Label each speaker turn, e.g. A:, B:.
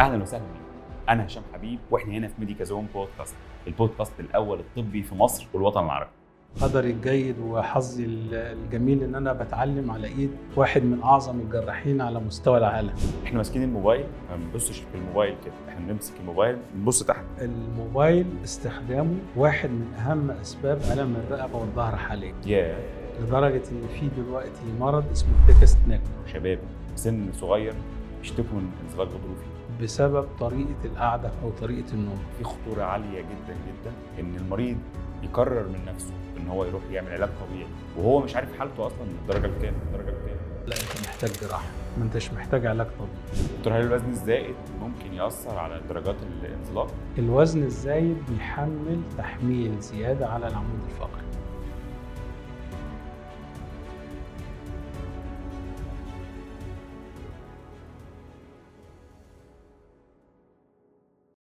A: اهلا وسهلا بيكم انا هشام حبيب واحنا هنا في ميديكا زون بودكاست البودكاست الاول الطبي في مصر والوطن العربي
B: قدري الجيد وحظي الجميل ان انا بتعلم على ايد واحد من اعظم الجراحين على مستوى العالم
A: احنا ماسكين الموبايل ما بنبصش في الموبايل كده احنا بنمسك الموبايل بنبص تحت
B: الموبايل استخدامه واحد من اهم اسباب الم الرقبه والظهر حاليا
A: يا
B: لدرجه ان في دلوقتي مرض اسمه التكستناك
A: شباب سن صغير بيشتكوا من انزلاق غضروفي
B: بسبب طريقه القعده او طريقه النوم
A: في خطوره عاليه جدا جدا ان المريض يقرر من نفسه ان هو يروح يعمل علاج طبيعي وهو مش عارف حالته اصلا الدرجه الكام الدرجه الكام
B: لا انت محتاج جراحه ما انتش محتاج علاج طبيعي
A: دكتور هل الوزن الزائد ممكن ياثر على درجات الانزلاق
B: الوزن الزايد بيحمل تحميل زياده على العمود الفقري